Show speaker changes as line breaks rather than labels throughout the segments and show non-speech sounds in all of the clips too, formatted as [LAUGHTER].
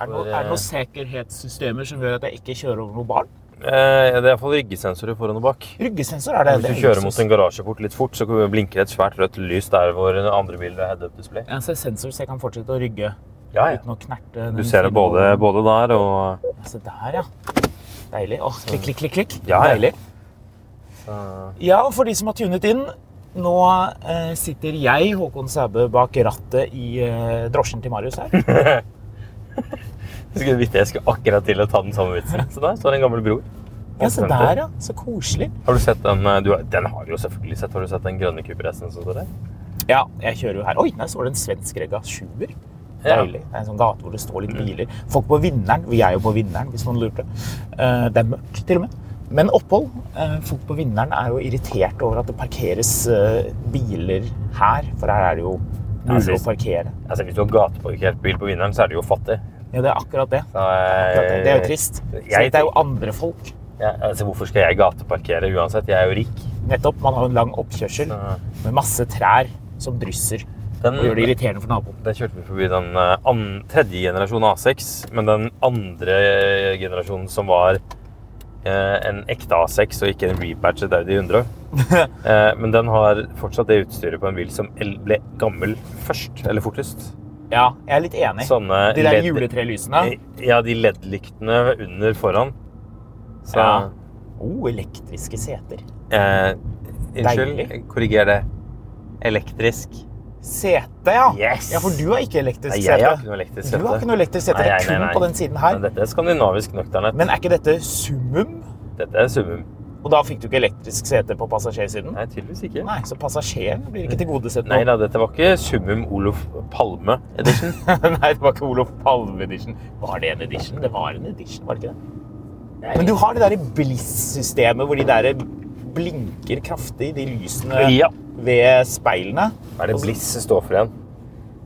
Er det, noe, er det noen sikkerhetssystemer som gjør at jeg ikke kjører over noen barn?
Eh, det er iallfall ryggesensorer foran og bak.
Ryggesensor er det.
Hvis
det
du
er
kjører
luksus.
mot en garasjeport litt fort, så blinker et svært rødt lys der hvor andre biler har head-up display.
Jeg ser sensor, så jeg kan fortsette å rygge
Ja,
uten å knerte. den
Du ser det
fine
både,
bollen.
både der og
Se der, ja. Deilig. Åh, klikk, klikk, klikk. klikk.
Ja, ja.
Deilig.
så-
Ja, og for de som har tunet inn, nå eh, sitter jeg, Håkon Sæbø, bak rattet i eh, drosjen til Marius
[LAUGHS]
her.
Jeg skulle, vite, jeg skulle akkurat til å ta den samme vitsen. Så der står en gammel bror.
Ja, se der, ja. Så koselig.
Har du sett den eh, du, har- Den har du jo selvfølgelig sett. Har du sett den grønne Cooper-S-en som står der?
Ja, jeg kjører jo her. Oi, der står det en svensk Rega 7-er.
Ja. Mm.
Deilig. Det er en sånn gate hvor det står litt biler. Folk på Vinneren. Vi er jo på Vinneren, hvis noen lurte. Eh, Det er mørkt, til og med. Men opphold. eh, Folk på Vinneren er jo irritert over at det parkeres eh, biler her, for her er det jo mulig å
synes-
parkere.
Altså, hvis du har gateparkert bil på vinneren, så er du jo fattig.
Ja, det er akkurat det.
Så,
Akkurat det. det er jo trist.
Eh,
Så
Jeg-
det er jo andre folk.
Ja, altså, hvorfor skal jeg gateparkere uansett? Jeg er jo rik.
Nettopp. Man har jo en lang oppkjørsel
Så
med masse trær som drysser og gjør det
den,
irriterende for naboen.
den kjørte vi forbi den eh, an, tredje generasjon A6, men den andre generasjonen som var eh, en ekte A6 og ikke en repatchet
[LAUGHS]
Audi 100. Eh, men den har fortsatt det utstyret på en bil som el- ble gammel først, eller fortest.
Ja, jeg er litt enig.
Sånne
De der
LED
juletrelysene.
Eh, Ja, de LED-lyktene under foran. Så
Ja. Oh, elektriske seter.
eh, Unnskyld,
Deilig.
korriger det. Elektrisk.
Sete, Ah, ja.
Yes!
Ja, For du har ikke elektrisk
Nei,
sete.
jeg har ikke noe elektrisk sete.
Du har ikke noe elektrisk sete. Det
Nei,
er
nei,
kun
nei.
på den siden her.
Men dette er skandinavisk nøkternett.
Men er ikke dette summum?
Dette er summum.
Og da fikk du ikke elektrisk sete på passasjersiden?
Nei, tydeligvis ikke.
Nei, så passasjeren blir ikke tilgodesett nå.
Nei da, dette var ikke summum Olof Palme edition.
[LAUGHS] Nei, det var ikke Olof Palme-edition. Var det en edition? Det var en edition, var det ikke det? Men du har det der Bliss-systemet hvor de der blinker kraftig, de lysene
Ja.
ved speilene.
Hva er det Bliss står for igjen?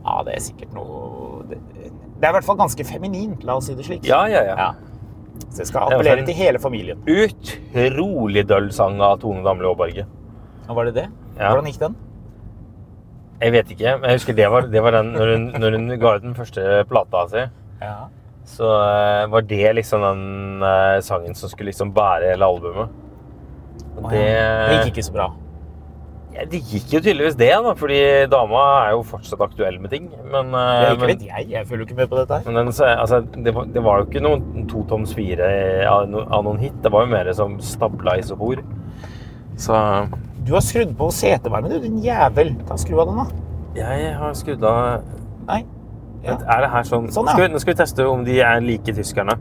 Ja, det er sikkert noe Det det er i hvert fall ganske feminint, la oss si det slik.
Ja, ja, ja.
Ja. Så jeg skal
Det er i hvert fall
appellere
en-
til hele familien.
Utrolig døll sang av Tone Damli Aaberge.
Og var det det?
Ja.
Hvordan gikk den?
Jeg vet ikke, men jeg husker det var, det var den når hun, når hun ga ut den første plata si.
Ja.
Så eh, var det liksom den eh, sangen som skulle liksom bære hele albumet. Og
Det...
det,
det gikk ikke så bra.
Ja, det gikk jo tydeligvis det, da, fordi dama er jo fortsatt aktuell med ting. Men, eh,
Det ikke
men,
vet jeg. Jeg følger jo ikke med på dette her.
men den, så- altså, det, var, det var jo ikke noen to toms fire eh, av no- av noen hit. Det var jo mer som stabla isohor. Så
Du har skrudd på setevarmen, du, din jævel. Ta Skru av den, da.
jeg har skrudd av
Nei. Ja.
Er det her sånn,
Sånn, ja.
skal vi, Nå skal vi teste om de er like tyskerne.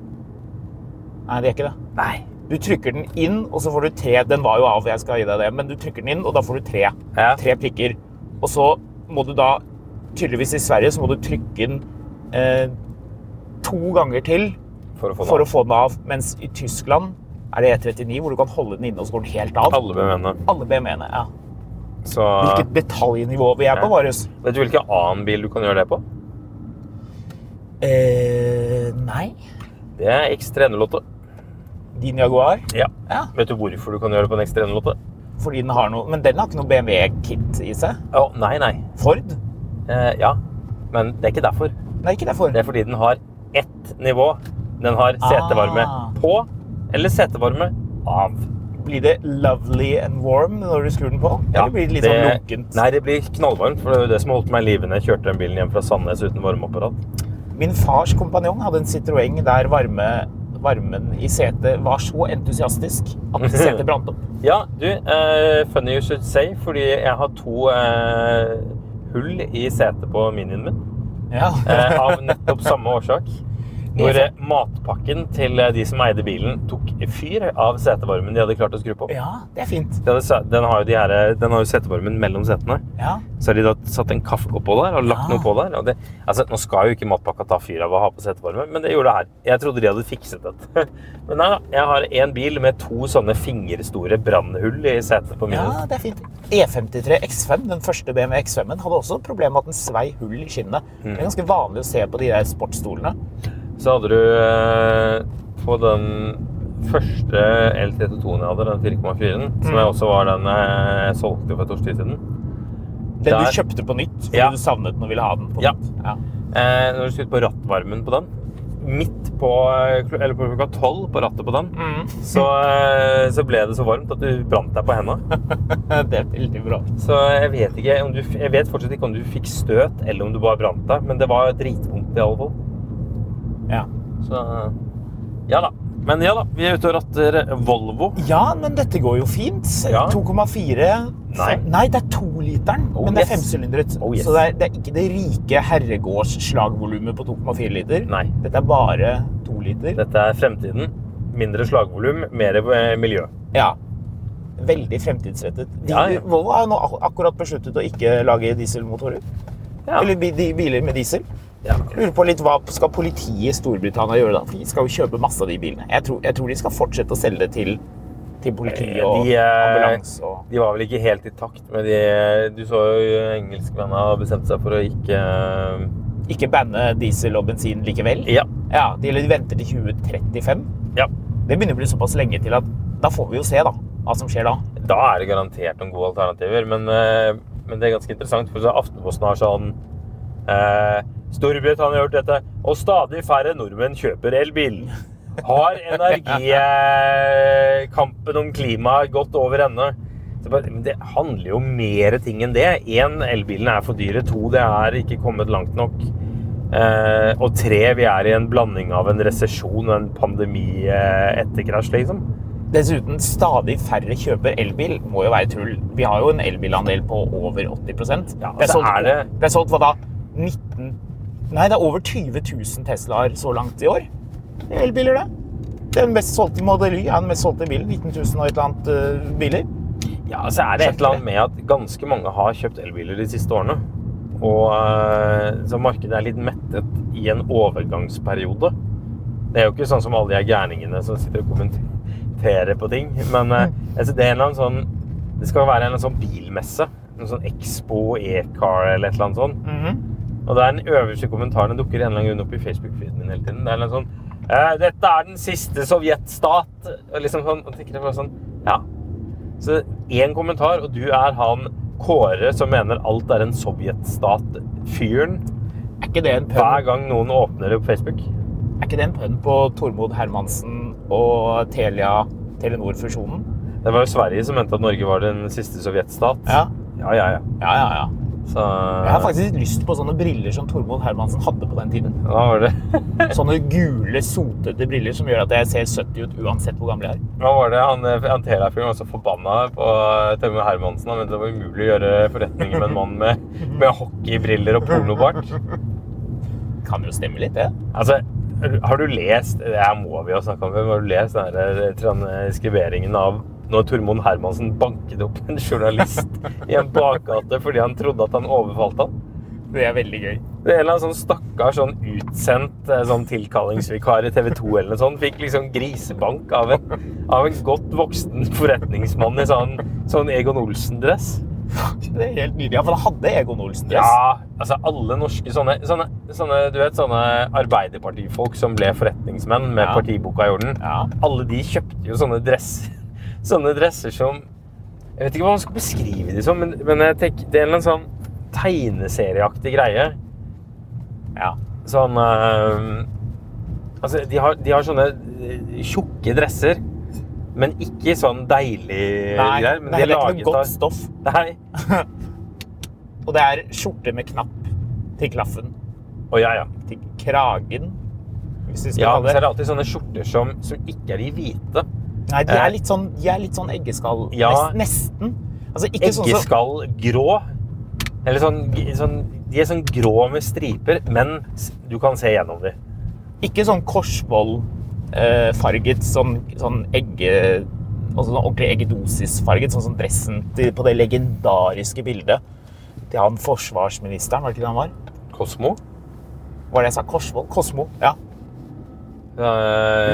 Nei, det er ikke det.
Nei.
Du trykker den inn, og så får du tre. Den var jo av, jeg skal gi deg det, men du trykker den inn, og da får du tre.
Ja.
Tre prikker. Og så må du da Tydeligvis i Sverige så må du trykke den eh, to ganger til
For å få
for å
den
få den av, mens i Tyskland er det E39 hvor du kan holde den inne, og så går den helt av.
av. Alle med mennene.
Alle BMW-ene, ja.
Så
Hvilket detaljnivå vi er på,
Ja.
Marius.
Vet du hvilken annen bil du kan gjøre det på?
Eh, nei.
Det er X308.
Din Jaguar?
Ja.
Ja.
Vet du hvorfor du kan gjøre det på en X308?
Fordi den har noe Men den har ikke noe BMW-kit i seg.
Å, nei, nei.
Ford?
Eh, ja. Men det er ikke derfor.
Nei, ikke det Ford.
Det er fordi den har ett nivå. Den har setevarme
Ah.
på eller setevarme av.
Blir det lovely and warm når du skrur den på?
Ja,
Eller blir det litt sånn lunkent?
Nei, det blir knallvarmt. For det er jo det som holdt meg i live når jeg kjørte den bilen hjem fra Sandnes uten varmeapparat.
Min fars kompanjong hadde en Citroën der varme, varmen i setet var så entusiastisk at
[LAUGHS]
setet brant opp.
Ja, du, eh, funny you should say, fordi jeg har to eh, hull i setet på minien min.
Ja.
eh,
[LAUGHS]
av nettopp samme årsak. Hvor eh, matpakken til eh, de som eide bilen, tok fyr av setevarmen de hadde klart å skru på.
ja, det er fint.
De hadde, se- den, har jo de her, eh, den har jo setevarmen mellom setene.
Ja.
Så har de da satt en kaffekopp på der og lagt
Ja.
noe på der. Og det, altså, nå skal jo ikke matpakka ta fyr av å ha på setevarme, men det gjorde det her. Jeg trodde de hadde fikset dette. [LAUGHS] Men nei da, jeg har én bil med to sånne fingerstore brannhull i setet på min.
ja, det er fint. E53 X5, den første BMW X5-en, hadde også et problem med at den svei hull i skinnet. Det er ganske vanlig å se på de der sportsstolene.
Så hadde du eh, på den første L32-en jeg hadde, den 4,4-en,
Mm.
som jeg også var den eh, jeg solgte for et års tid siden
Den
Der.
du kjøpte på nytt fordi
Ja.
du savnet den og ville ha den på
Ja.
nytt. Ja.
eh, Når du skulle ut på rattvarmen på den, midt på, eh, klo- eller på klokka tolv på rattet på den, så, eh, så ble det så varmt at du brant deg på henda.
Eh, Det er veldig bra.
Så jeg vet, ikke om du, f- jeg vet fortsatt ikke om du fikk støt, eller om du bare brant deg, men det var dritvondt i alle fall.
Ja.
Så eh, ja da. Men ja da, vi er ute og ratter Volvo.
ja, men dette går jo fint.
Ja.
2,4
Nei.
Nei, det er toliteren,
Oh,
men det er
yes.
femsylindret.
Oh, yes.
Så det er, det er ikke det rike herregårdsslagvolumet på 2,4 liter.
Nei.
Dette er bare 2 liter.
Dette er fremtiden. Mindre slagvolum, mer eh, miljø.
Ja. Veldig fremtidsrettet. De,
Ja, ja.
Volvo har jo nå ak- akkurat besluttet å ikke lage dieselmotorer.
Ja.
Eller bi- de biler med diesel.
Ja.
Lurer på litt Hva skal politiet i Storbritannia gjøre da? For de skal jo kjøpe masse av de bilene. Jeg tror, jeg tror de skal fortsette å selge det til, til politi
Eh,
og
de, eh,
ambulanse. Og...
De var vel ikke helt i takt med de eh, Du så jo engelskmennene har bestemt seg for å ikke eh,
Ikke banne diesel og bensin likevel.
Ja.
Ja, de, eller de venter til 2035.
ja.
Det begynner å bli såpass lenge til at da får vi jo se da, hva som skjer da.
Da er det garantert noen gode alternativer, men, eh, men det er ganske interessant. For så Aftenposten har sånn eh, Storbritannia har gjort dette, og stadig færre nordmenn kjøper elbil. Har energikampen om klima gått over ende? Så bare, Men det handler jo om mer ting enn det. Én, elbilene er for dyre. To, det er ikke kommet langt nok. Eh, og tre, vi er i en blanding av en resesjon og en pandemi eh, etter krasj, liksom.
Dessuten, stadig færre kjøper elbil må jo være tull. Vi har jo en elbilandel på over 80
Ja,
Det er
så
solgt,
er det-
det er solgt hva da? 19 Nei, det er over 20 000 Teslaer så langt i år. Det er Elbiler, det. Det er den mest solgte Model Y er den mest solgte bilen. 19 000 og et eller annet eh, biler.
Ja, så er det et eller annet med at ganske mange har kjøpt elbiler de siste årene. Og eh, så markedet er litt mettet i en overgangsperiode. Det er jo ikke sånn som alle de her gærningene som sitter og kommenterer på ting. Men eh, altså, det er en eller annen sånn Det skal være en eller annen sånn bilmesse. En sånn Expo E-car eller et eller annet sånt.
Mhm.
Og det er den øverste kommentaren den dukker en eller annen grunn opp i Facebook-feeden min hele tiden. Det er en eller annen sånn eh, 'Dette er den siste sovjetstat!' Og liksom sånn. Og tenker jeg bare sånn Ja. Så én kommentar, og du er han Kåre som mener alt er en sovjetstat-fyren.
Er ikke det en
Hver
pønn,
gang noen åpner det på Facebook.
er ikke det en pønn på Tormod Hermansen og Telia Telenor-fusjonen?
Det var jo Sverige som mente at Norge var den siste sovjetstat.
Ja.
ja, ja. ja.
Ja, ja, ja.
Så
Jeg har faktisk litt lyst på sånne briller som Tormod Hermansen hadde på den tiden.
da var det
Sånne gule, sotete briller som gjør at jeg ser 70 ut uansett hvor gammel jeg er.
Hva var det han, eh, han Telia-fyren var så forbanna på Tømme Hermansen? Han mente det var umulig å gjøre forretninger med en mann med, med hockeybriller og pornobart.
Kan jo stemme litt, det.
Altså, har du lest Det her må vi jo snakke om. men Har du lest den her transkriberingen av når Tormod Hermansen banket opp en journalist i en bakgate fordi han trodde at han overfalt han?
Det er veldig gøy. [LAUGHS]
Det er En eller annen sånn stakkars sånn utsendt eh, sånn tilkallingsvikar i TV 2 eller noe sånt fikk liksom grisebank av en, av en godt voksen forretningsmann i sånn, sånn Egon Olsen-dress.
Det er helt nydelig. Ja, for da hadde Egon Olsen-dress.
Ja, altså alle norske sånne, sånne, sånne Du vet sånne arbeiderpartifolk som ble forretningsmenn med
Ja.
partiboka i orden?
Ja.
Alle de kjøpte jo sånne dresser. [LAUGHS] Sånne dresser som Jeg vet ikke hva man skal beskrive de som, men, men jeg tenker, det er en eller annen sånn tegneserieaktig greie.
Ja.
Sånn eh, Altså, de har, de har sånne eh, tjukke dresser, men ikke sånn deilig
Nei, det
greier. Men de
er heller ikke noe godt
av-
stoff.
Nei.
Og det er skjorte med knapp til klaffen.
Å, ja, ja.
Til kragen, hvis vi skal
Ja, så
kalle
er
det.
det alltid sånne skjorter som, som ikke er i hvite.
Nei, de er litt sånn, de er litt sånn eggeskall.
Eh. Ja.
Nes- Nesten. Altså, ikke sånn som...
Eggeskall grå. Eller sånn, sånn de er sånn grå med striper, men s- du kan se gjennom dem.
Ikke sånn korsbollfarget, sånn, sånn egge... Altså sånn ordentlig eggedosisfarget, sånn som dressen til, på det legendariske bildet til han forsvarsministeren, var det ikke det han var?
Kosmo?
Var det jeg sa? Korsvoll? Kosmo, ja.
Eh,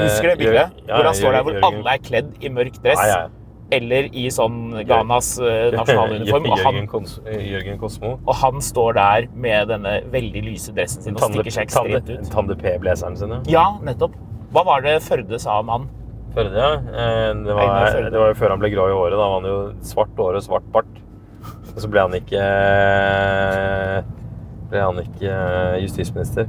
Husker du det bildet?
Jør- ja,
Hvor han står der hvor
Jørgen-
alle er kledd i mørk dress,
Ja, ja, ja.
eller i sånn Ghanas
[LAUGHS]
eh, nasjonaluniform, og han,
Jørgen, Kons eh, Jørgen Kosmo.
og han står der med denne veldig lyse dressen sin og
Tande-
stikker seg ekstremt
Tande-
ut.
Tande P-blazeren sin, ja.
Ja, nettopp. Hva var det Førde sa om han?
Førde, ja. Eh, Det
Einar
var,
Førde.
det var jo før han ble grå i håret. Da var han jo svart hår og svart bart. Og så ble han ikke eh, ble han ikke eh, justisminister.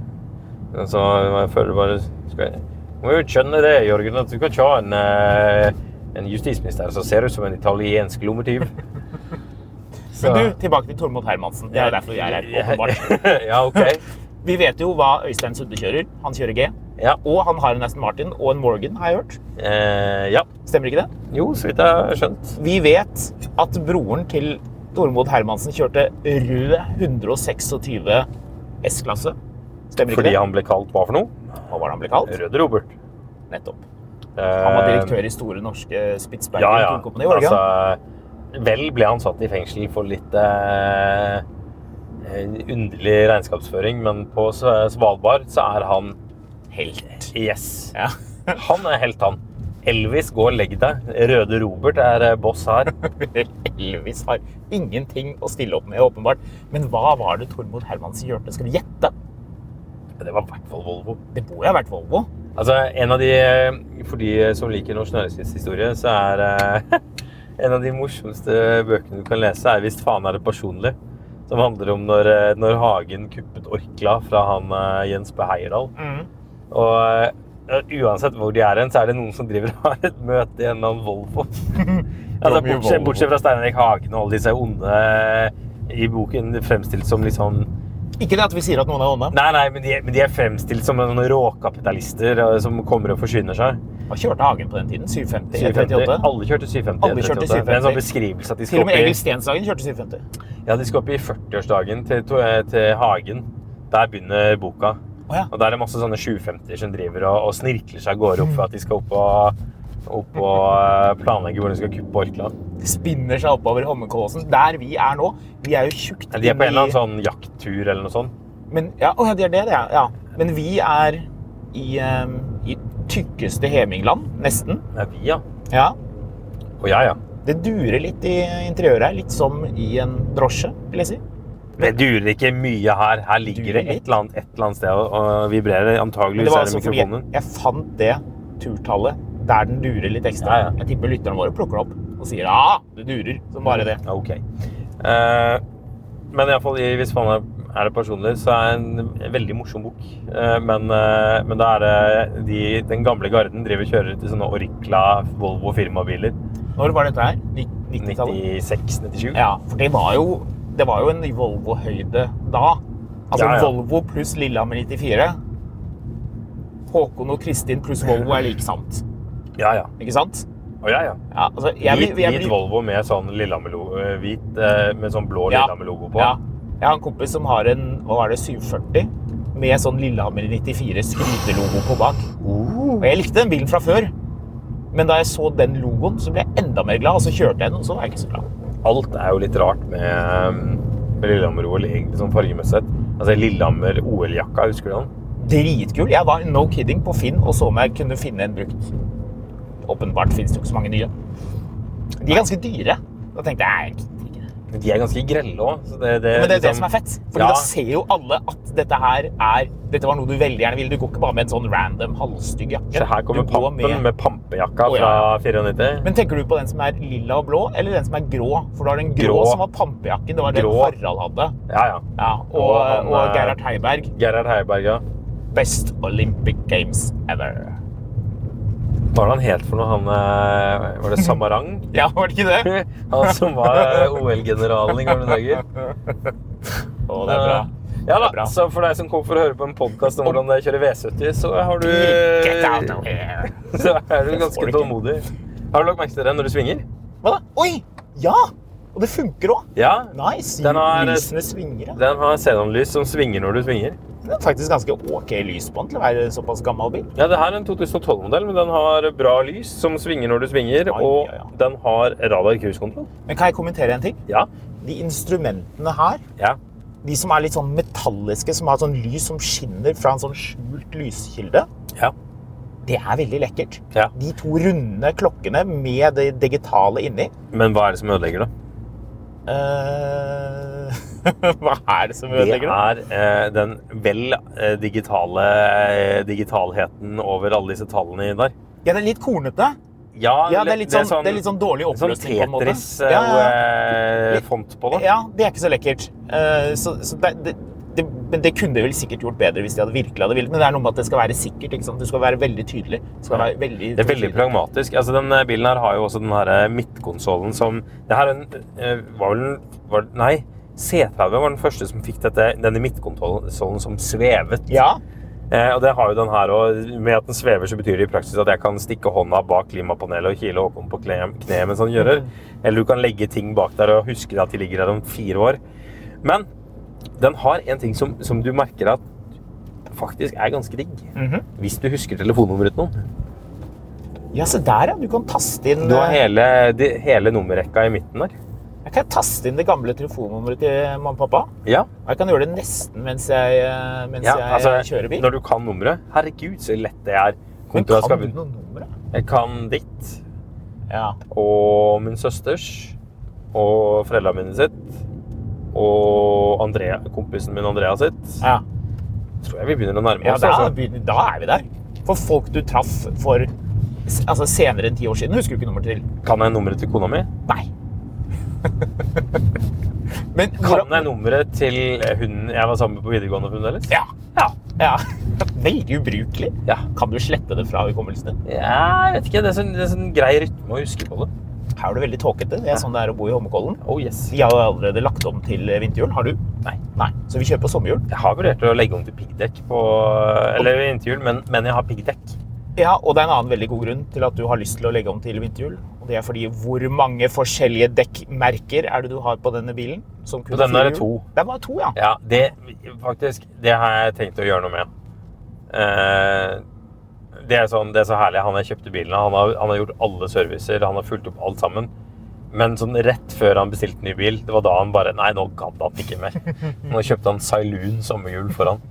Men Så jeg føler bare skal jeg, må jo skjønne det, Jørgen, at du kan ikke ha en, eh, en justisminister som ser ut som en italiensk
[LAUGHS]
lommetyv. Så-
Men du, tilbake til Tormod Hermansen. Det er jo derfor vi er her, åpenbart.
[LAUGHS] ja, ok.
Vi vet jo hva Øystein Sudde kjører. Han kjører G.
Ja.
Og han har en Aston Martin og en Morgan, har jeg hørt.
Eh, ja.
Stemmer ikke det?
Jo, så vidt jeg har skjønt.
Vi vet at broren til Tormod Hermansen kjørte rød 126 S-klasse. Stemmer ikke
Fordi
det?
han ble kalt hva for noe?
Hva var det han ble kalt?
Røde Robert.
Nettopp. Han var direktør i Store norske Spitsbergen ja, ja. Tungkompani. var det ikke han?
Eh, Altså, vel ble han satt i fengsel for litt eh, eh, underlig regnskapsføring, men på S- Svalbard så er han
Helt.
Yes.
Ja. [LAUGHS]
Han er helt han. Elvis, gå og legg deg. Røde Robert er eh, boss her.
Elvis har ingenting å stille opp med, åpenbart. Men hva var det Tormod Hermansen kjørte? Skal vi gjette?
Det var i hvert fall Volvo.
Det må jo ha vært Volvo.
Altså, en av de For de som liker norsk næringslivshistorie, så er eh, [LAUGHS] en av de morsomste bøkene du kan lese, er 'Hvis faen er det personlig'. Som handler om når, eh, når Hagen kuppet Orkla fra han eh, Jens B. Heierdal.
Mm.
Og eh, uansett hvor de er hen, så er det noen som driver og har et møte i en eller annen Volvo. altså,
Tommy
bortsett,
Volvo.
bortsett fra Stein Erik Hagen og alle disse onde eh, i boken fremstilt som litt sånn
Ikke det at vi sier at noen er onde.
Nei, nei, men de, men de er fremstilt som sånne råkapitalister eh, som kommer og forsyner seg.
Hva kjørte Hagen på den tiden? 750?
750.
138?
Alle kjørte 750.
Alle kjørte
138. Det er en sånn
750.
beskrivelse at de
Til og
skal
med Egil
opp i,
Stenshagen kjørte 750.
ja, de skal opp i 40-årsdagen til, to- eh, til Hagen. Der begynner boka.
Å ja.
Og der er det masse sånne 750-er som driver og, og snirkler seg av gårde opp for at de skal opp og, opp og eh, planlegge hvor de skal kuppe Orkland.
Det Spinner seg oppover Holmenkollåsen. Der vi er nå. Vi er jo tjukt
Ja, De er på en eller
inni-
annen sånn jakttur eller noe sånt.
Men, ja, å ja, det er det, det er. Ja. Men vi er i, um, i tykkeste Hemingland, nesten.
Det er vi, ja.
Ja.
Og jeg, ja.
Det durer litt i interiøret her. Litt som i en drosje, vil jeg si.
Det durer ikke mye her. Her ligger det
Durer
et eller annet, et eller annet sted og, og vibrerer.
Men det
Antageligvis
var
er det
altså fordi jeg,
mikrofonen.
jeg fant det turtallet der den durer litt ekstra.
Ja, ja.
Jeg tipper lytterne våre plukker det opp og sier ja, det durer som bare det.
Ok. Eh, men i alle fall, i- hvis man er, er det personlig, så er det en veldig morsom bok. Eh, men, eh, men da er det de, den gamle garden driver og kjører til sånne Orkla Volvo firmabiler.
Når var dette her? Ni- 90-tallet?
96-97.
Ja, for det var jo, det var jo en Volvo-høyde da. Altså
Ja, ja.
Volvo pluss Lillehammer 94. Håkon og Kristin pluss Volvo er lik sant.
ja. ja.
Ikke sant?
Å, ja, ja.
Ja, altså, jeg,
Hvit,
blir- jeg
hvit
blir-
Volvo med sånn Lillehammer-logo, eh, hvit eh, med sånn blå
Ja.
Lillehammer-logo på.
Ja. Jeg har en kompis som har en hva er det, 740 med sånn Lillehammer 94 skrytelogo på bak.
Uh.
Og jeg likte den bilen fra før, men da jeg så den logoen, så ble jeg enda mer glad. Og så kjørte jeg den, og så var jeg ikke så glad.
Alt er jo litt rart med, eh, med Lillehammer-OL, egentlig sånn fargemessig sett. Altså Lillehammer-OL-jakka, husker du den?
Dritkul. Jeg var no kidding på Finn og så om jeg kunne finne en brukt. Åpenbart finnes det jo ikke så mange nye. De er ganske dyre. Da tenkte jeg jeg gidder ikke det.
De er ganske grelle òg.
Men det er
liksom
det som er fett. Fordi
Eh, Ja.
da ser jo alle at dette her er Dette var noe du veldig gjerne ville. Du går ikke bare med en sånn random halvstygg jakke.
Så her kommer
Du går
pampen med, pampejakka
Å, ja.
fra 94.
Men tenker du på den som er lilla og blå, eller den som er grå? For da er den grå,
Grå.
som var pampejakken. Det var den
Grå.
Harald hadde.
Ja, ja.
Ja, og,
Og han,
og
eh,
Gerhard Heiberg.
Gerhard Heiberg, ja.
Best Olympic Games ever.
Hva var det han het for noe? Han, eh, var det Samarang? [LAUGHS]
Ja, var det ikke det?
han som var OL-generalen i gamle dager.
Å, [LAUGHS] det er bra.
Ja
Det er
da,
bra.
så for deg som kom for å høre på en podkast om hvordan det er å kjøre V70, så har du
Get out of here!
[LAUGHS] Så er
Det
du
får du
ganske
ikke.
tålmodig. Har du lagt merke til det når du svinger?
Hva da? Oi! Ja! Og det funker òg.
Ja,
Nice.
Den har-
Lysene svinger. Ja.
den har xenonlys som svinger når du svinger.
Det er faktisk ganske ok lys på den til å være en såpass gammel bil.
Ja, det her er en 2012-modell, men den har bra lys som svinger når du svinger,
Ai,
og
ja, ja.
den har radar cruise control.
Men kan jeg kommentere en ting?
Ja,
De instrumentene her,
ja.
de som er litt sånn metalliske, som har sånn lys som skinner fra en sånn skjult lyskilde,
Ja.
det er veldig lekkert.
Ja.
De to runde klokkene med det digitale inni.
Men hva er det som ødelegger det?
Eh, [LAUGHS] Hva er det som
Det
ødelegger det?
er eh, den vel eh, digitale eh, digitalheten over alle disse tallene der.
Ja, det er litt kornete. Ja, det er litt sånn, det er litt sånn dårlig
sånn
oppløsning på en måte. Ja, ja, ja.
Tetris-font eh, på det.
Ja, det er ikke så lekkert. Eh, så, så det, det, det, men det kunne de vel sikkert gjort bedre hvis de hadde virkelig hadde villet. Men det er noe med at det skal være sikkert. ikke sant? Du skal være veldig tydelig. Det skal være veldig,
Det er veldig
tydelig.
pragmatisk. Altså, den eh, bilen her har jo også den her eh, midtkonsollen som Det her er en, eh, var vel den var, Nei, C30 var den første som fikk dette, denne midtkonsollen som svevet.
Ja,
Eh, og det har jo den her òg. Med at den svever, så betyr det i praksis at jeg kan stikke hånda bak klimapanelet og kile Håkon på kle, kne mens han gjører. Eller du kan legge ting bak der og huske at de ligger der om fire år. Men den har en ting som, som du merker at faktisk er ganske digg.
Mhm.
Hvis du husker telefonnummeret til noen.
ja se der, ja. Du kan taste inn
Du har
eh,
hele, de, hele nummerrekka i midten der.
Jeg kan taste inn det gamle telefonnummeret til mamma og pappa.
Ja,
Og Jeg kan gjøre det nesten mens jeg, eh, mens
ja
jeg
altså,
kjører bil.
når du kan nummeret. Herregud, så lett det er.
Men
Kontra
kan
skal
du
vi-
noen numre?
Jeg kan ditt
Ja.
og min søsters og foreldrene mine sitt og Andrea, kompisen min Andrea sitt.
ja.
Tror jeg vi begynner å nærme
Ja,
oss.
da,
altså.
begynner- da er vi der. For folk du traff for s- altså senere enn ti år siden, husker du ikke nummeret til.
Kan jeg nummeret til kona mi?
Nei. [LAUGHS] Men
Kan jeg nummeret til hun jeg var sammen med på videregående fremdeles?
Ja. ja, ja. [LAUGHS] Veldig ubrukelig.
Ja.
Kan du slette det fra hukommelsen din?
Ja, jeg vet ikke. Det er sånn, det er sånn grei rytme å huske på det.
Her er du veldig tåkete. Det er sånn det er å bo i Holmenkollen.
Oh yes.
Vi har jo allerede lagt om til vinterhjul. Har du?
Nei.
Nei. Så vi kjører på sommerhjul.
Jeg har vurdert å legge om til piggdekk på Eller intervjuer, men, men jeg har piggdekk.
Ja, og det er en annen veldig god grunn til at du har lyst til å legge om til vinterhjul. Og det er fordi hvor mange forskjellige dekkmerker er det du har på denne bilen? Som kun
På denne
har
er det
fire hjul?
to.
Den var to, ja.
Ja, det faktisk Det har jeg tenkt å gjøre noe med. Eh, det, er sånn, det er så herlig. Han jeg kjøpte bilen av, han har, han har gjort alle servicer. Han har fulgt opp alt sammen. Men sånn rett før han bestilte ny bil, det var da han bare Nei, nå gadd han ikke mer. Nå kjøpte han Sailoon sommerhjul foran.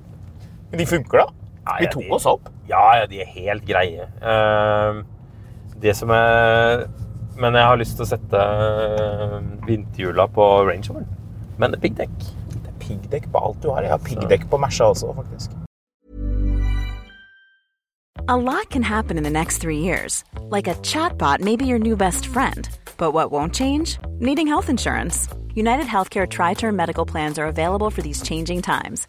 Men de funker, da.
Nei,
Vi tok oss opp.
Ja, ja, de er helt greie. Eh, det som er Men jeg har lyst til å sette eh, vinterhjula på Range Roveren. Men det er piggdekk.
Det er piggdekk på alt du har. Jeg har piggdekk på Merca også, faktisk.
A lot can happen in the next three years. Like a chatbot may be your new best friend. But what won't change? Needing health insurance. United Healthcare Tri Term Medical Plans are available for these changing times.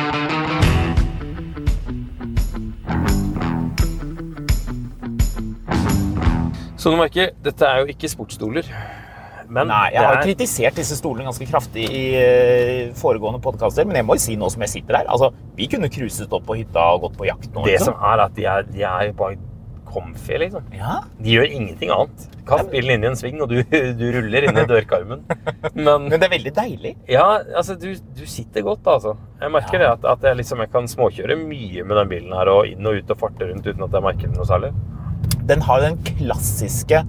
Som du merker, dette er jo ikke sportsstoler. Men
Nei, jeg har
det er,
kritisert disse stolene ganske kraftig i eh, foregående podkaster, men jeg må jo si nå som jeg sitter her Altså, vi kunne cruiset opp på hytta og gått på jakt nå.
det
liksom.
som er at de er, de er bare comfy, liksom.
Ja,
De gjør ingenting annet. Kast bilen inn i en sving, og du, du ruller inn i
[LAUGHS]
dørkarmen. Men
Men det er veldig deilig.
ja, altså, du, du sitter godt, altså. Jeg merker det at, at jeg, liksom, jeg kan småkjøre mye med den bilen her, og inn og ut og farte rundt uten at jeg merker det noe særlig.
Den har den klassiske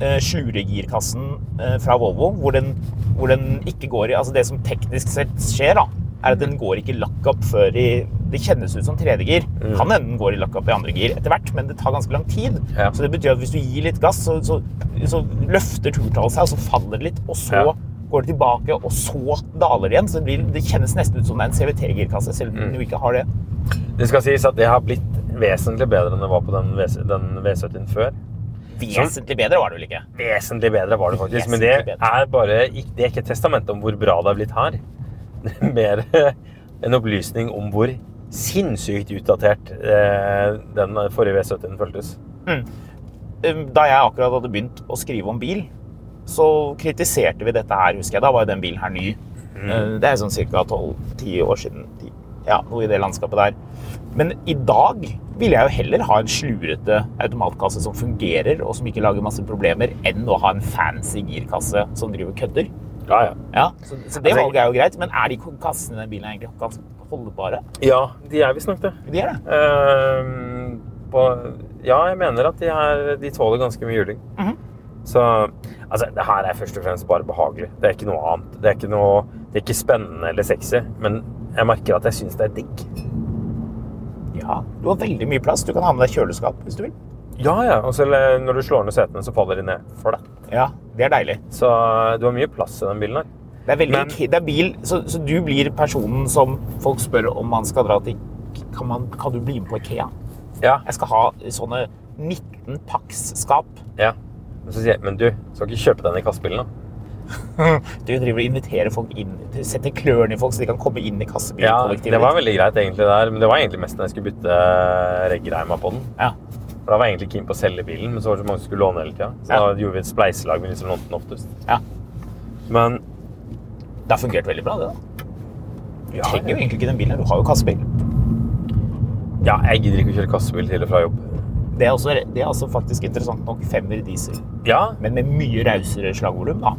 eh, sluregirkassen eh, fra Volvo, hvor den, hvor den ikke går i Altså det som teknisk sett skjer, da, er at den går ikke lockup før i Det kjennes ut som tredje gir.
Mm.
Kan hende den går i lockup i andre gir etter hvert, men det tar ganske lang tid.
Ja.
Så det betyr at hvis du gir litt gass, så, så, så løfter turtallet seg, og så faller det litt, og så
Ja.
går det tilbake, og så daler det igjen. Så det, blir, det kjennes nesten ut som det er en CVT-girkasse, selv
Mm.
om du ikke har det.
Det skal sies at det har blitt vesentlig bedre enn det var på den, V- den V70 før.
Vesentlig bedre var det vel ikke?
Vesentlig bedre var det faktisk, men det
Vesentlig bedre.
er bare ikke- det er ikke testamentet om hvor bra det har blitt her. [LAUGHS] Det er mer [LAUGHS] en opplysning om hvor sinnssykt utdatert eh, den forrige V70 føltes.
Um, da jeg akkurat hadde begynt å skrive om bil, så kritiserte vi dette her, husker jeg. Da var jo den bilen her ny. Uh, Det er sånn ca. 12-10 år siden. 10, Ja, noe i det landskapet der. Men i dag ville jeg jo heller ha en slurete automatkasse som fungerer, og som ikke lager masse problemer, enn å ha en fancy girkasse som driver og kødder.
Ja, ja.
Ja, så, så det
Altså,
valget er jo greit, men er de kassene i den bilen egentlig ganske holdbare?
Ja, de er visstnok det.
De er det.
Ehm, på, ja, jeg mener at de, er, de tåler ganske mye juling. Så altså, det her er først og fremst bare behagelig. Det er ikke noe annet. Det er ikke, noe, det er ikke spennende eller sexy, men jeg merker at jeg syns det er digg.
Ja, du har veldig mye plass. Du kan ha med deg kjøleskap hvis du vil.
Ja, ja. Og så le- når du slår ned setene, så faller de ned for deg.
Ja, det er deilig.
Så eh, du har mye plass i den bilen her.
Det er veldig
Men-
ki- det er bil, så, så du blir personen som folk spør om man skal dra til Kan, man, kan du bli med på Ikea?
Ja.
Jeg skal ha sånne 19 pakksskap.
ja. Men, så sier jeg, men du, skal ikke kjøpe den i kassebilen, da?
Du driver og inviterer folk inn, du setter klørne i folk så de kan komme inn i
Ja,
kassebilkollektivet.
det var veldig greit, egentlig. der, Men det var egentlig mest når jeg skulle bytte eh, reggreima på den.
Ja.
For Da var jeg egentlig keen på å selge bilen, men så var det så mange som skulle låne hele tida. Så
Ja.
da gjorde vi et spleiselag med liksom lånte den oftest.
Ja.
Men
Det har fungert veldig bra, det. da. Du
ja,
trenger jo egentlig ikke den bilen. her, Du har jo kassebil.
ja, jeg gidder ikke å kjøre kassebil til og fra jobb.
Det er, også, det er altså faktisk interessant nok femmer diesel,
Ja,
men med mye rausere slagvolum. da,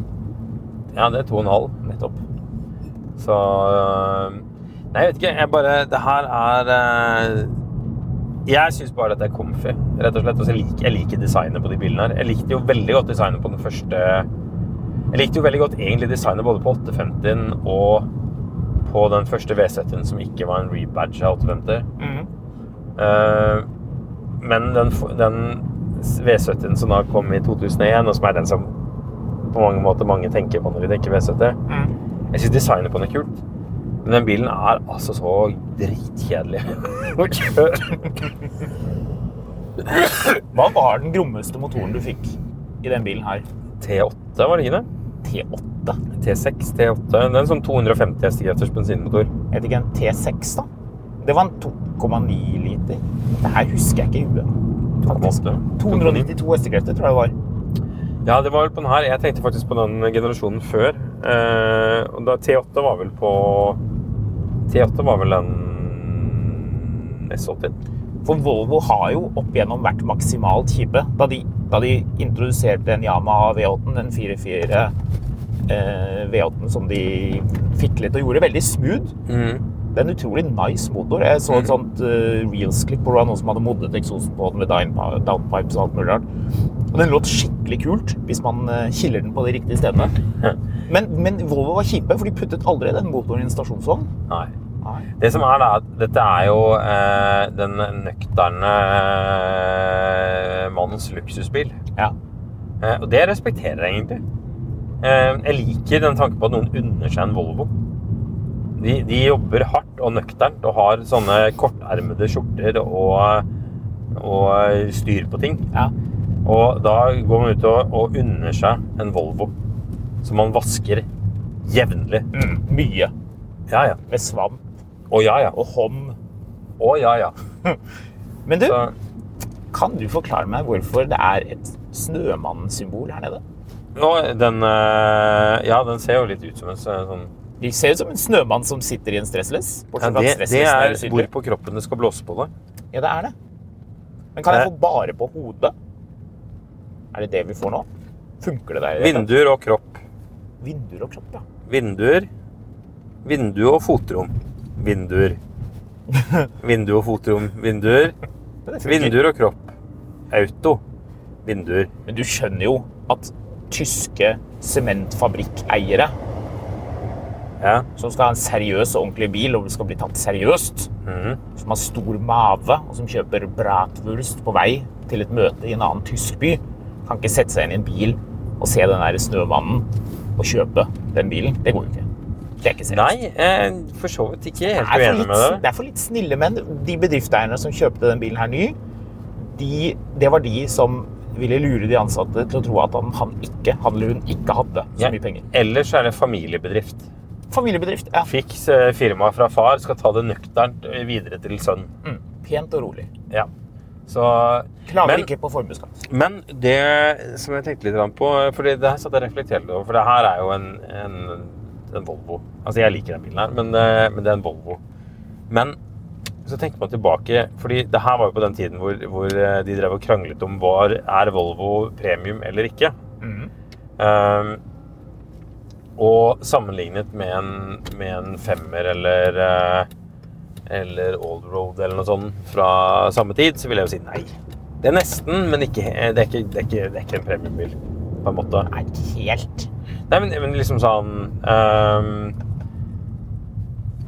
ja det er to og en halv.
nettopp.
Så øh, Nei, jeg vet ikke. Jeg bare Det her er øh, Jeg syns bare at det er comfy, rett og slett. Og så liker jeg liker designet på de bilene her. Jeg likte jo veldig godt designet på den første Jeg likte jo veldig godt egentlig designet både på 850-en og på den første V70-en som ikke var en rebadge av 850. Eh, men den, f- den V70-en som da kom i 2001, og som er den som på mange måter mange tenker på når de tenker V70 Jeg syns designet på den er kult, men den bilen er altså så dritkjedelig [LAUGHS] å kjøre.
Hva var den grommeste motoren du fikk i den bilen her?
T8, var det ikke det?
T8?
T6, T8. Den er en sånn 250 hestekrefters bensinmotor.
Jeg vet ikke, en T6 da. Det var en 2,9 liter. Det her husker jeg ikke i huet. faktisk.
2,8.
292 hestekrefter, tror jeg det var.
Ja, det var vel på den her. Jeg tenkte faktisk på den generasjonen før. Eh, og da T8 var vel på T8 var vel den S80.
For Volvo har jo opp gjennom vært maksimalt kjipe. Da de, da de introduserte en Yamaha V8, den 44 eh, V8 som de fiklet og gjorde veldig smooth. Det er en utrolig nice motor. Jeg så
Mm.
et sånt uh, reels-klipp hvor det var noen som hadde moddet eksosen på den med downpi- downpipes og alt mulig rart. Og den låt skikkelig kult hvis man eh, killer den på de riktige stedene. Men, men Volvo var kjipe, for de puttet aldri den motoren i en stasjonsvogn.
Nei. Det som er, da, at dette er jo eh, den nøkterne eh, mannens luksusbil.
Ja.
Eh, og det respekterer jeg egentlig. Eh, jeg liker den tanken på at noen unner seg en Volvo. De, de jobber hardt og nøkternt og har sånne kortermede skjorter og, og styr på ting.
Ja.
Og da går man ut og, og unner seg en Volvo som man vasker jevnlig.
Mm, mye.
Ja, ja.
Med svamp
Å ja, ja.
og hånd.
Å ja, ja.
Men du,
Så,
kan du forklare meg hvorfor det er et snømann-symbol her nede?
og den eh, Ja, den ser jo litt ut som en s- sånn
De ser ut som en snømann som sitter i en stressless.
ja,
bortsett fra
Altså, det,
at
det
stresslessen
er
usynlig.
hvor på kroppen det skal blåse på det.
Ja, det er det. Men kan jeg
Det-
få bare på hodet? Er det det vi får nå? Funker det der? i det hele tatt?
Vinduer og kropp.
Vinduer og kropp, ja.
Vinduer. Vindu og fotrom. Vinduer. Vindu og fotrom. Vinduer.
Men det funker.
Vinduer og kropp. Auto. Vinduer.
Men du skjønner jo at tyske sementfabrikkeiere
Ja.
Som skal ha en seriøs og ordentlig bil og skal bli tatt seriøst. Som har stor mave og som kjøper bratwurst på vei til et møte i en annen tysk by. Kan ikke sette seg inn i en bil og se den der snømannen og kjøpe den bilen. Det går jo ikke. Det er ikke seriøst.
Nei, eh, for så vidt ikke. Jeg er
Det
Helt
er for
uenig med
litt-
deg.
Det er for litt snille menn. De bedriftseierne som kjøpte den bilen her ny, de, det var de som ville lure de ansatte til å tro at han, han ikke, han eller hun ikke hadde så
Ja.
mye penger.
Ellers er det familiebedrift.
Familiebedrift. Ja.
Fikk eh, firmaet fra far, skal ta det nøkternt eh, videre til sønn.
Mm. Pent og rolig.
Ja. Så,
Klager
men,
ikke på formuesskatt.
men det som jeg tenkte litt grann på eh, fordi det her satt jeg og reflekterte over, for det her er jo en, en, en Volvo. Altså, jeg liker den bilen her, men, eh, men det er en Volvo. Men så tenker man tilbake, fordi det her var jo på den tiden hvor, hvor eh, de drev og kranglet om var, er Volvo premium eller ikke. Ehm, og sammenlignet med en, med en femmer eller, eh, eller Old Road eller noe sånt fra samme tid, så vil jeg jo si nei. Det er nesten, men ikke, det, er ikke, det, er ikke, det er ikke en premiumbil, på en måte.
Nei, ikke helt.
Nei, men, men liksom sånn ehm,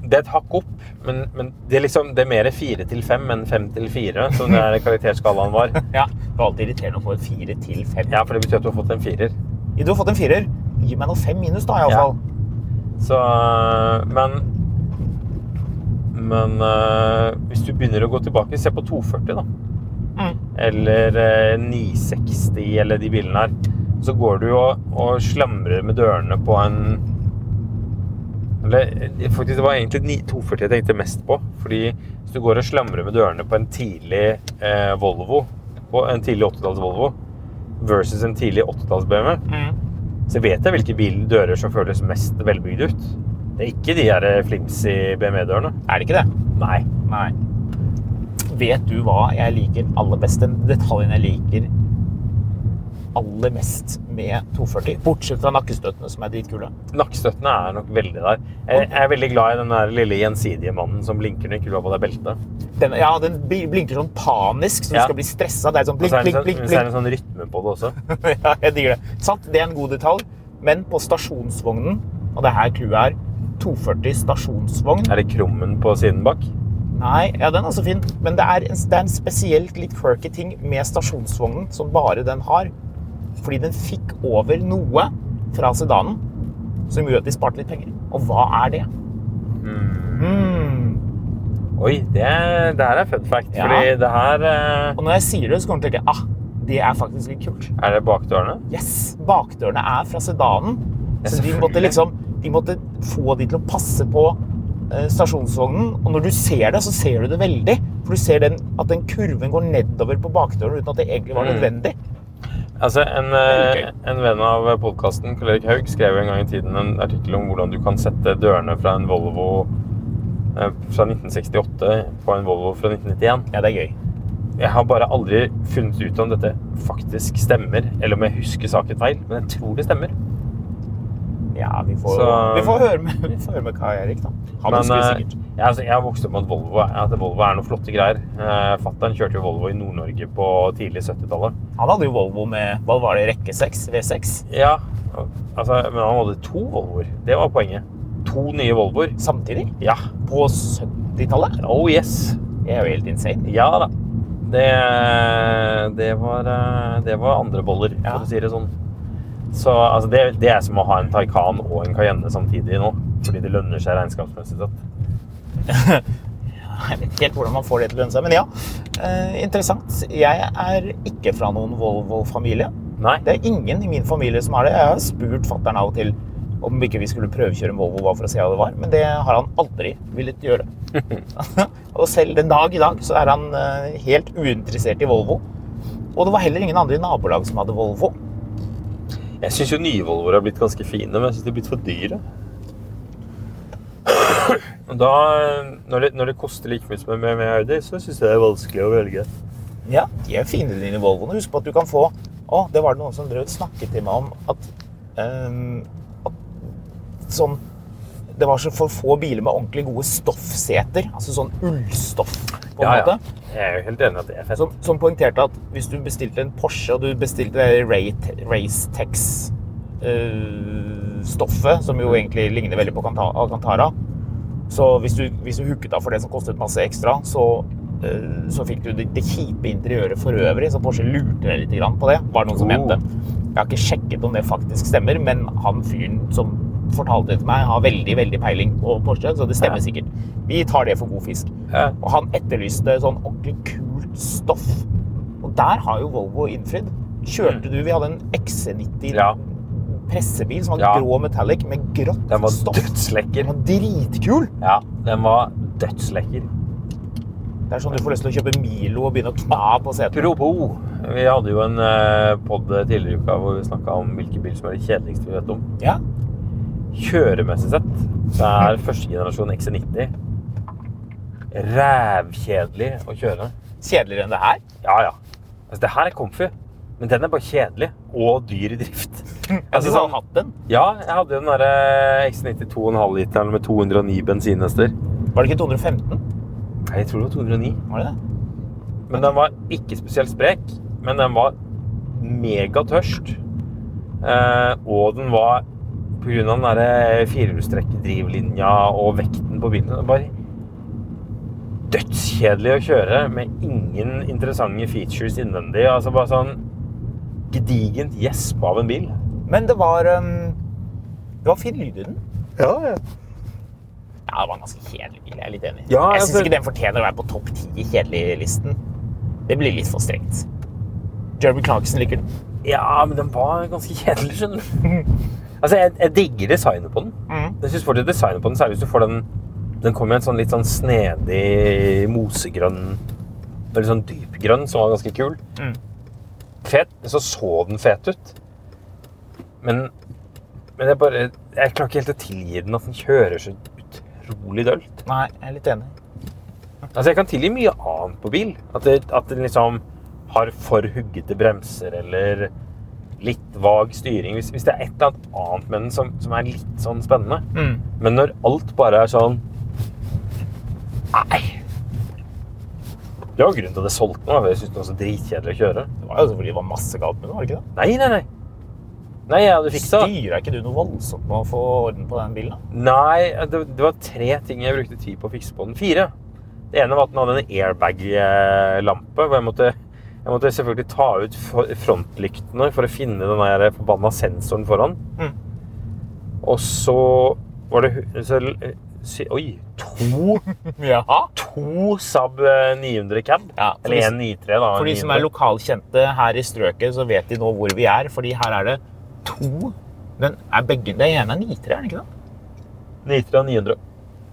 Det er et hakk opp, men, men det er liksom det er mer fire til fem enn fem til fire, som den her karakterskalaen var.
Ja, det var alltid irriterende å få en fire til fem.
Ja, for det betyr at du har fått en firer.
Du har fått en firer. Gi meg noe fem minus, da,
Ja.
iallfall.
Så eh, Men Men eh, hvis du begynner å gå tilbake, se på 240, da.
Mm,
Eller eh, 960, eller de bilene her. Så går du og, og slamrer med dørene på en Eller eh, faktisk, det var egentlig 9 240 jeg tenkte mest på. Fordi hvis du går og slamrer med dørene på en tidlig eh, Volvo, på en tidlig 80-talls Volvo versus en tidlig 80-talls BMW,
mm.
så vet jeg hvilke bildører som føles mest velbygd ut. Det er ikke de her flimsy BMW-dørene.
Er det ikke det?
Nei.
Nei. Vet du hva jeg liker aller best? Den detaljen jeg liker aller mest med 240, bortsett fra nakkestøtene, som er dritkule.
Nakkestøttene er nok veldig der. Jeg jeg er veldig glad i den der lille gjensidige mannen som blinker når ikke du har på deg belte.
Den, ja, den bl- blinker sånn panisk, så du
Ja.
skal bli stressa. Det er sånn
Og
blink,
så er det
blink,
en
blink.
sånn, så er det
blink. [LAUGHS]
en sånn rytme på det også.
ja, jeg digger det. Sant? Det er en god detalj, men på stasjonsvognen, og det er her clouet er, 240 stasjonsvogn
Er det krummen på siden bak?
Nei, ja, den er også fin, men det er, en, det er en spesielt litt quirky ting med stasjonsvognen som bare den har. Fordi den fikk over noe fra sedanen som gjorde at de sparte litt penger. Og hva er det? Hmm.
Oi, det, det her er fun fact.
Ja.
Fordi det her eh,
Og når jeg sier det, så kommer du til å tenke ah, det er faktisk litt kult.
Er det bakdørene?
Yes! Bakdørene er fra sedanen.
Ja,
Så de
selvfølgelig.
måtte liksom De måtte få de til å passe på eh, stasjonsvognen. Og når du ser det, så ser du det veldig. For du ser den, at den kurven går nedover på bakdøren uten at det egentlig var
Mm.
nødvendig.
Altså, en, eh,
Det er
en venn av podkasten, Karl Erik Haug, skrev en gang i tiden en artikkel om hvordan du kan sette dørene fra en Volvo eh, fra 1968 på en Volvo fra 1991.
Ja, det er gøy.
Jeg har bare aldri funnet ut om dette faktisk stemmer, eller om jeg husker saken feil, men jeg tror det stemmer.
Ja, vi får,
Så-
vi får, høre, med, vi får høre med Kai Erik, da. Han
men,
husker
eh,
sikkert.
jeg, altså, jeg har vokst opp med at Volvo, er- at Volvo er noen flotte greier. Eh, Fattern kjørte jo Volvo i Nord-Norge på tidlig 70-tallet.
Han hadde jo Volvo med hva var det, rekke 6? V6?
Ja, altså, men han hadde to Volvoer. Det var poenget. To nye Volvoer.
Samtidig?
Ja.
På 70-tallet?
Oh yes.
Det er jo helt insane.
Ja da. Det, det, var, eh, det var andre boller,
Ja.
for å si det sånn. Så altså, det, det er som å ha en Taycan og en Cayenne samtidig nå. Fordi det lønner seg regnskapsmessig sett.
Jeg vet ikke helt hvordan man får det til å lønne seg, men ja. Eh, interessant. Jeg er ikke fra noen Volvo-familie.
Nei.
Det er ingen i min familie som har det. Jeg har spurt fatter'n av og til om ikke vi skulle prøvekjøre en Volvo bare for å se hva det var, men det har han aldri villet gjøre. og selv den dag i dag så er han eh, helt uinteressert i Volvo. Og det var heller ingen andre i nabolaget som hadde Volvo.
Jeg syns jo nye Volvoer har blitt ganske fine, men jeg syns de har blitt for [COUGHS] dyre. Og Da, når det, når det koster like mye som en BMW Audi, så syns jeg det er vanskelig å velge.
Ja, de er fine dine Volvoene. Husk på at du kan få Å, det var det noen som drev og snakket til meg om at, ehm, at sånn Det var så for få biler med ordentlig gode stoffseter. Altså sånn ullstoff, på en måte.
Jeg er jo helt enig i at det er fett.
som, som poengterte at hvis du bestilte en Porsche og du bestilte det Ray- Racetex eh, stoffet, som jo egentlig ligner veldig på Canta- Alcantara. Så hvis du, hvis du hooket av for det som kostet masse ekstra, så, eh, så fikk du det, det kjipe interiøret for øvrig, så Porsche lurte deg litt grann på det, var det noen som
Oh.
mente. Jeg har ikke sjekket om det faktisk stemmer, men han fyren som fortalte det til meg, har veldig, veldig peiling på Porsche, så det stemmer
Ja.
sikkert. Vi tar det for god fisk.
Ja.
Og han etterlyste sånn ordentlig kult stoff. Og der har jo Volvo innfridd. Kjørte du Vi hadde en XC90
Mm. Ja.
pressebil som var
Ja.
grå metallic med grått
Den var
stoff. Den
dødslekker.
var dritkul!
Ja, den var dødslekker.
Det er sånn du får lyst til å kjøpe Milo og begynne å kna på setet.
Apropos, vi hadde jo en pod tidligere i uka hvor vi snakka om hvilke bil som er det kjedeligste vi vet om.
Ja.
Kjøremessig sett så er første generasjon XC90 rævkjedelig å kjøre.
Kjedeligere enn det her.
Ja, ja. Altså, det her er comfy, men den er bare kjedelig og dyr i drift.
Jeg
Altså,
synes han
sånn,
har hatt den.
ja, jeg hadde jo den eh, derre XC90 2,5 literen med 209 bensinhester.
Var det ikke 215?
Nei, Jeg tror det var 209.
Var det det?
Men den var ikke spesielt sprek, men den var megatørst. Eh, og den var på grunn av den derre firehjulstrekkdrivlinja og vekten på bilen den var Dødskjedelig å kjøre med ingen interessante features innvendig. Altså bare sånn gedigent gjesp av en bil.
Men det var um, Det var fin lyd i den. Ja, det var en ganske kjedelig bil. Jeg er litt enig.
Ja,
jeg
altså-
syns ikke den fortjener å være på topp ti i kjedelig-listen. Det blir litt for strengt. Jeremy Clarkson liker den.
Ja, men den var ganske kjedelig, skjønner du. [LAUGHS] altså, jeg, jeg digger designet på den.
Mhm.
Jeg synes fortsatt designet på den, særlig hvis du får den Den kommer i en sånn litt sånn snedig mosegrønn Veldig sånn dypgrønn, som var ganske kul.
Mhm.
Fet. men Så så den fet ut. Men, men jeg bare Jeg klarer ikke helt å tilgi den at den kjører så utrolig dølt.
Nei, jeg er litt enig.
Altså, jeg kan tilgi mye annet på bil. At, det, at den liksom har for huggete bremser eller litt vag styring. Hvis, hvis det er et eller annet annet med den som, som er litt sånn spennende.
Mm.
Men når alt bare er sånn Nei! Det var grunnen til at jeg solgte den. da, for Jeg syntes den var så dritkjedelig å kjøre.
Det var jo selvfølgelig det var masse galt med den, var det ikke det?
Nei, nei, nei. Nei, jeg hadde fiksa
Styra ikke du noe voldsomt med å få orden på den bilen? da?
Nei, det, det var tre ting jeg brukte tid på å fikse på den. Fire. Det ene var at den hadde en airbag-lampe. hvor jeg måtte, jeg måtte selvfølgelig ta ut for- frontlyktene for å finne den der forbanna sensoren foran.
Mm.
Og så var det hu- så, l- sy, Oi! To,
Ja.
to Saab eh, 900 cab.
Ja, for
Eller
hvis-
en 93, da. en
For de som er
900.
lokalkjente her i strøket, så vet de nå hvor vi er. Fordi her er det to Den er begge Det ene er nitre, er det ikke det?
93 og 900.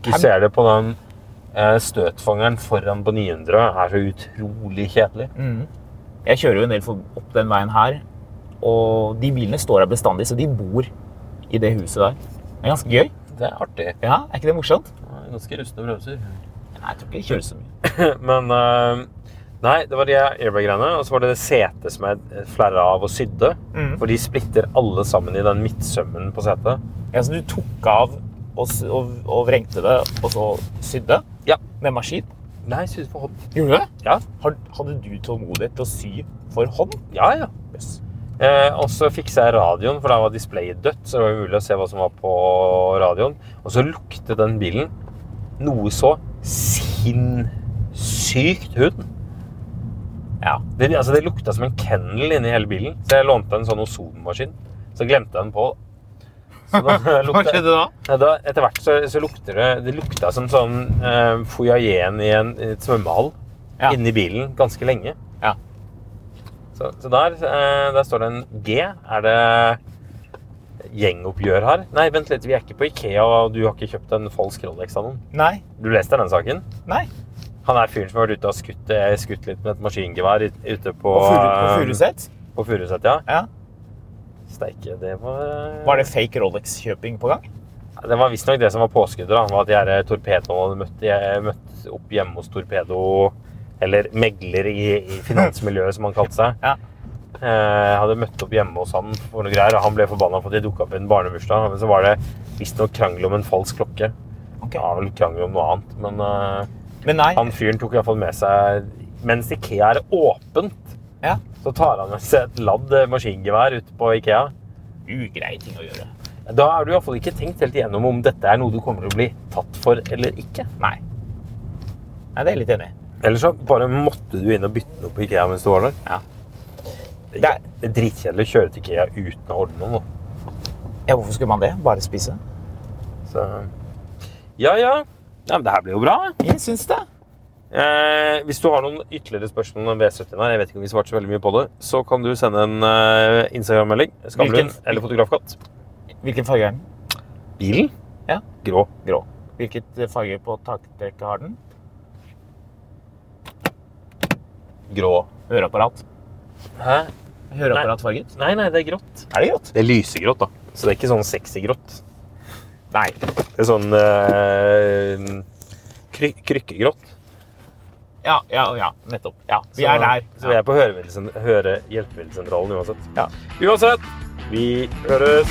Du
Cab.
ser det på den eh, støtfangeren foran på 900. er så utrolig kjedelig.
Mm. Jeg kjører jo en del for- opp den veien her, og de bilene står her bestandig, så de bor i det huset der. Det er ganske gøy.
Det er artig.
Ja, Er ikke det morsomt?
Ganske rustne bremser.
Nei, jeg tror ikke de kjører så mye.
[LAUGHS] Men eh, Nei, det var de airbag-greiene. Og så var det det setet som jeg flerra av og sydde.
Mhm.
For de splitter alle sammen i den midtsømmen på setet.
Ja, så du tok av og, s- og, og vrengte det, og så sydde
Ja.
med maskin?
Nei, sydde for hånd.
Gjorde du det?
Ja,
Har- Hadde du tålmodighet til å sy for hånd?
ja. ja.
Yes.
Eh, og så fiksa jeg radioen, for da var displayet dødt. Så det var umulig å se hva som var på radioen. Og så luktet den bilen noe så sinnssykt hund.
Ja.
Det, altså, det lukta som en kennel inni hele bilen. Så jeg lånte en sånn ozonmaskin. Så glemte jeg den på. Så
[LAUGHS]
da
Hva
lukta-
skjedde da?
Ja, da, etter hvert så, så lukter det Det lukta som sånn eh, foajeen i en i et svømmehall.
Ja.
Inni bilen ganske lenge.
Ja.
Så, så der, eh, der står det en G. Er det gjengoppgjør her? Nei, vent litt, vi er ikke på Ikea, og du har ikke kjøpt en falsk Rolex av noen.
Nei.
Du leste den saken?
Nei.
Han er fyren som har vært ute og skutt, eh, skutt litt med et maskingevær ut- ute på
På Furu- på
eh,
Furuset?
På Furuset, ja.
Ja.
Steike, det var eh,
Var det fake Rolex-kjøping på gang?
Det var visstnok det som var påskuddet. da, var At de her eh, torpedoene møtte, jeg møtte eh, opp hjemme hos Torpedo, eller megler i, i finansmiljøet, som han kalte seg.
Ja.
Eh, hadde møtt opp hjemme hos han for noe greier, og han ble forbanna for at de dukka opp i en barnebursdag. Men så var det visstnok krangel om en falsk klokke.
Ok.
Det var vel krangel om noe annet, men eh,
Men nei.
han fyren tok iallfall med seg Mens Ikea er åpent,
Ja.
så tar han med seg et ladd maskingevær ute eh, på Ikea.
Ugrei ting å gjøre.
Da har du i hvert fall ikke tenkt helt igjennom om dette er noe du kommer til å bli tatt for eller ikke.
Nei. Nei, det er jeg litt enig i.
Ellers så bare måtte du inn og bytte noe på Ikea mens du var der.
Ja.
Det er, det er dritkjedelig å kjøre til Ikea uten å ordne noe. nå.
Ja, hvorfor skulle man det? Bare spise?
Så... Ja, ja. ja men det her blir jo bra.
Jeg syns det.
Eh, hvis du har noen ytterligere spørsmål om V70, her, jeg vet ikke om vi svarte så veldig mye på det, så kan du sende en eh, Instagram-melding. Skamlund
Hvilken?
eller Fotografkatt.
Hvilken farge er den?
Bilen?
Ja.
Grå.
Grå. Hvilket eh, farge på taktrekket har den?
Grå.
Høreapparat.
Hæ?
Høreapparatfarget.
Nei, nei, det er grått.
Er det grått?
Det er lysegrått, da. Så det er ikke sånn sexy grått.
Nei.
Det er sånn eh, kry krykkegrått.
Ja, ja, ja. Nettopp. Ja, vi
Så-
er der.
Så vi er på høremiddelsen- høre hjelpemiddelsentralen uansett.
Ja.
Uansett, vi høres!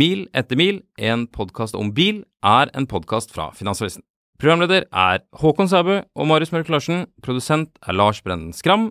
Mil etter mil, en podkast om bil, er en podkast fra Finansavisen. Programleder er Håkon Sæbø og Marius Mørk Larsen. Produsent er Lars Brenden Skram.